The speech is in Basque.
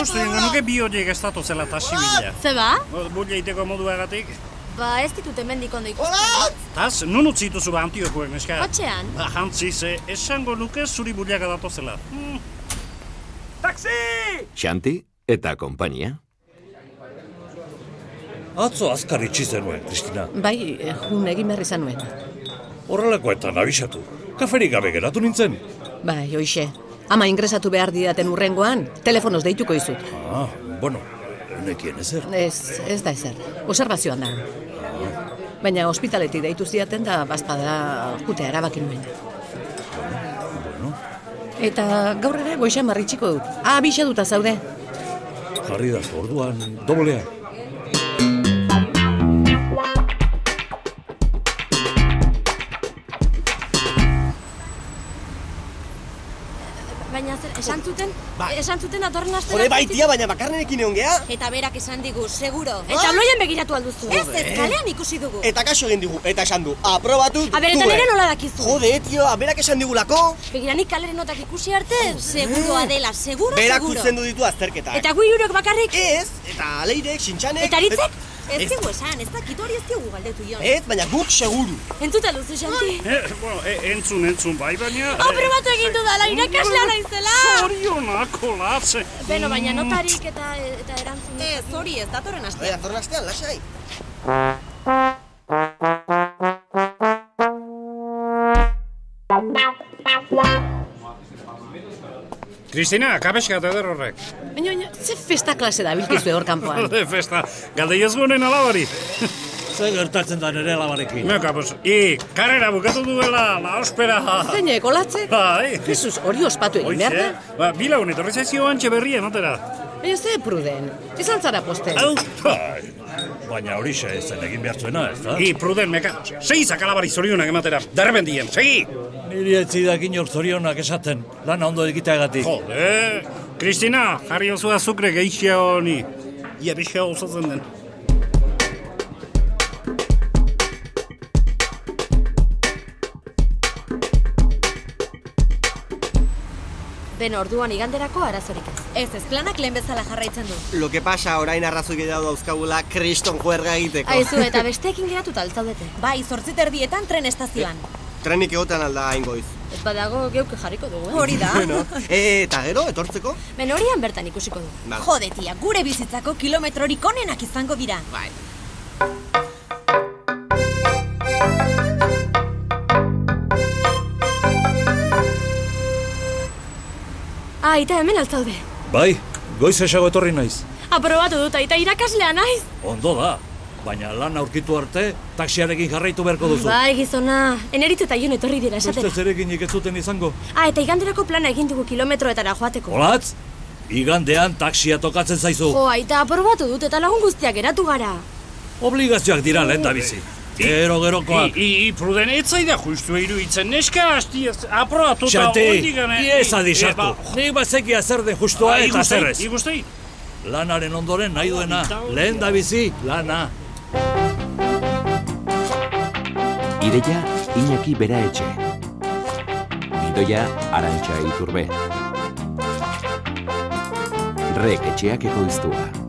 esango nuke bi horiek estatu zela eta zibila. Zeba? Bulla iteko moduagatik. Ba ez ditut hemendik ondo ikusten. Taz, nun utzi dituzu ba antiokuek neska? Kotxean? Ba, jantzi ze, esango nuke zuri bullaga datozela. Hmm. Xanti eta konpainia. Atzo azkar itxi zenuen, Kristina. Bai, eh, jun egin behar izan nuen. Horrelakoetan abisatu. Kaferik gabe geratu nintzen. Bai, hoixe. Ama ingresatu behar didaten urrengoan, telefonoz deituko izut. Ah, bueno, nekien ezer. Ez, ez da ezer. Observazioan da. Baina ospitaletik deitu zidaten da bazpada jutea erabaki nuen. Eta gaur ere goixan marritxiko dut. Ah, duta zaude. Jarri da, orduan, doblea. Baina zer, esan zuten, Bai. esan zuten datorren astera. Jode baitia, baina bakarrenekin egon gea, Eta berak esan digu, seguro. Eta bloien begiratu alduzu. Bai. Ez, ez, kalean ikusi dugu. eta kaso egin digu, eta esan du, aprobatu A ber, eta duzue. nire nola dakizu? Jode, tio, aberak esan digulako, Begiranik kaleren notak ikusi arte, Seguroa dela, seguro, berak seguro. utzen du ditu azterketak. eta gu hirurek bakarrik, Ez, eta leirek, sintxanek... eta aritzek? Eh, Ez Eh? digu esan, ez dakit hori ez digu galdetu jon. Ez, baina guk seguru. Entzuta duzu, Xanti. Eh, bueno, e, entzun, entzun, bai, baina... eh, Aprobatu egin dudala, irakaslea naizela! Zorionak, olatze. Beno, baina notarik eta, eta erantzun. Ez, hori ez, datorren aste. Baina, zorra Bai, astean, lasai. Kristina, kabeskat eder horrek. Baina, baina, ze festa klase da bilkizue hor kanpoan. Festa, galde jezgunen alabari. Zer gertatzen da nere labarekin. Meo, kapos, i, karrera bukatu duela, la ospera. Zeine, kolatze? Bai, Jesus, hori ospatu egin behar oize, da. ba, bilaun etorri zaizio antxe berria ematera. ba. Baina, ze pruden. Izan zara poste. Au, Baina hori xe ez zen egin behar zuena, ez da? I, pruden, meka, segi zakalabari zorionak ematera, derben dien, segi! Niri ez zidak inork zorionak esaten, lana ondo egiteagatik. Jode, Kristina, jarri oso azukre geixia honi. Ia pixka osatzen den. Beno, orduan iganderako arazorik ez. Ez, ez, planak lehen bezala jarraitzen du. Lo que pasa, orain arrazoi gehiago dauzkagula kriston juerga egiteko. Aizu, eta besteekin geratuta altzaudete. Bai, zortzit erdietan tren estazioan. Trenik egotan alda hain goiz. Ez badago geuke jarriko dugu, eh? Hori da. E, eta gero, etortzeko? Beno, horian bertan ikusiko du. Ba. Jode, tia, gure bizitzako kilometrorik onenak izango dira. Bai. Ah, aita hemen altzaude. Bai, goiz esago etorri naiz. Aprobatu dut, aita irakaslea naiz. Ondo da, baina lan aurkitu arte, taksiarekin jarraitu beharko duzu. Bai, gizona, eneritz eta ion etorri dira esatera. Ustez erekin iketzuten izango. Ah, eta iganderako plana egin dugu kilometroetara joateko. Olatz, igandean taksia tokatzen zaizu. Jo, aita, aprobatu dut eta lagun guztiak geratu gara. Obligazioak dira lehen da bizi. Gero I, gerokoak. i, i pruden, ez zaida justu iruditzen, neska tota hasti ez, aprobatu eta Xanti, ondik gane. iesa disartu. Nik bazekia zer den justua eta zer ez. Igustei, Lanaren ondoren nahi duena, lehen da bizi, lana. Ideia Iñaki Bera Etxe. Bidoia Arantxa Iturbe. Rek etxeak ekoiztua.